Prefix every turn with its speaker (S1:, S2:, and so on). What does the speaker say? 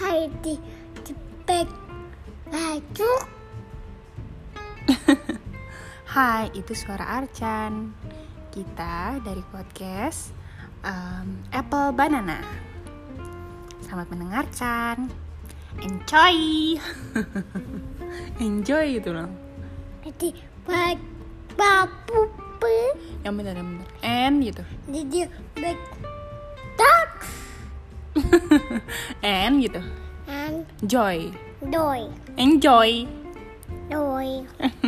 S1: hai di di bag baju
S2: Hai, itu suara Archan. Kita dari podcast um, Apple Banana. Selamat mendengarkan. Enjoy. Enjoy gitu loh.
S1: di bag babu pe
S2: Yang benar yang benar. And gitu.
S1: di di bag tak
S2: And gitu.
S1: and
S2: Joy.
S1: doi
S2: Enjoy.
S1: doi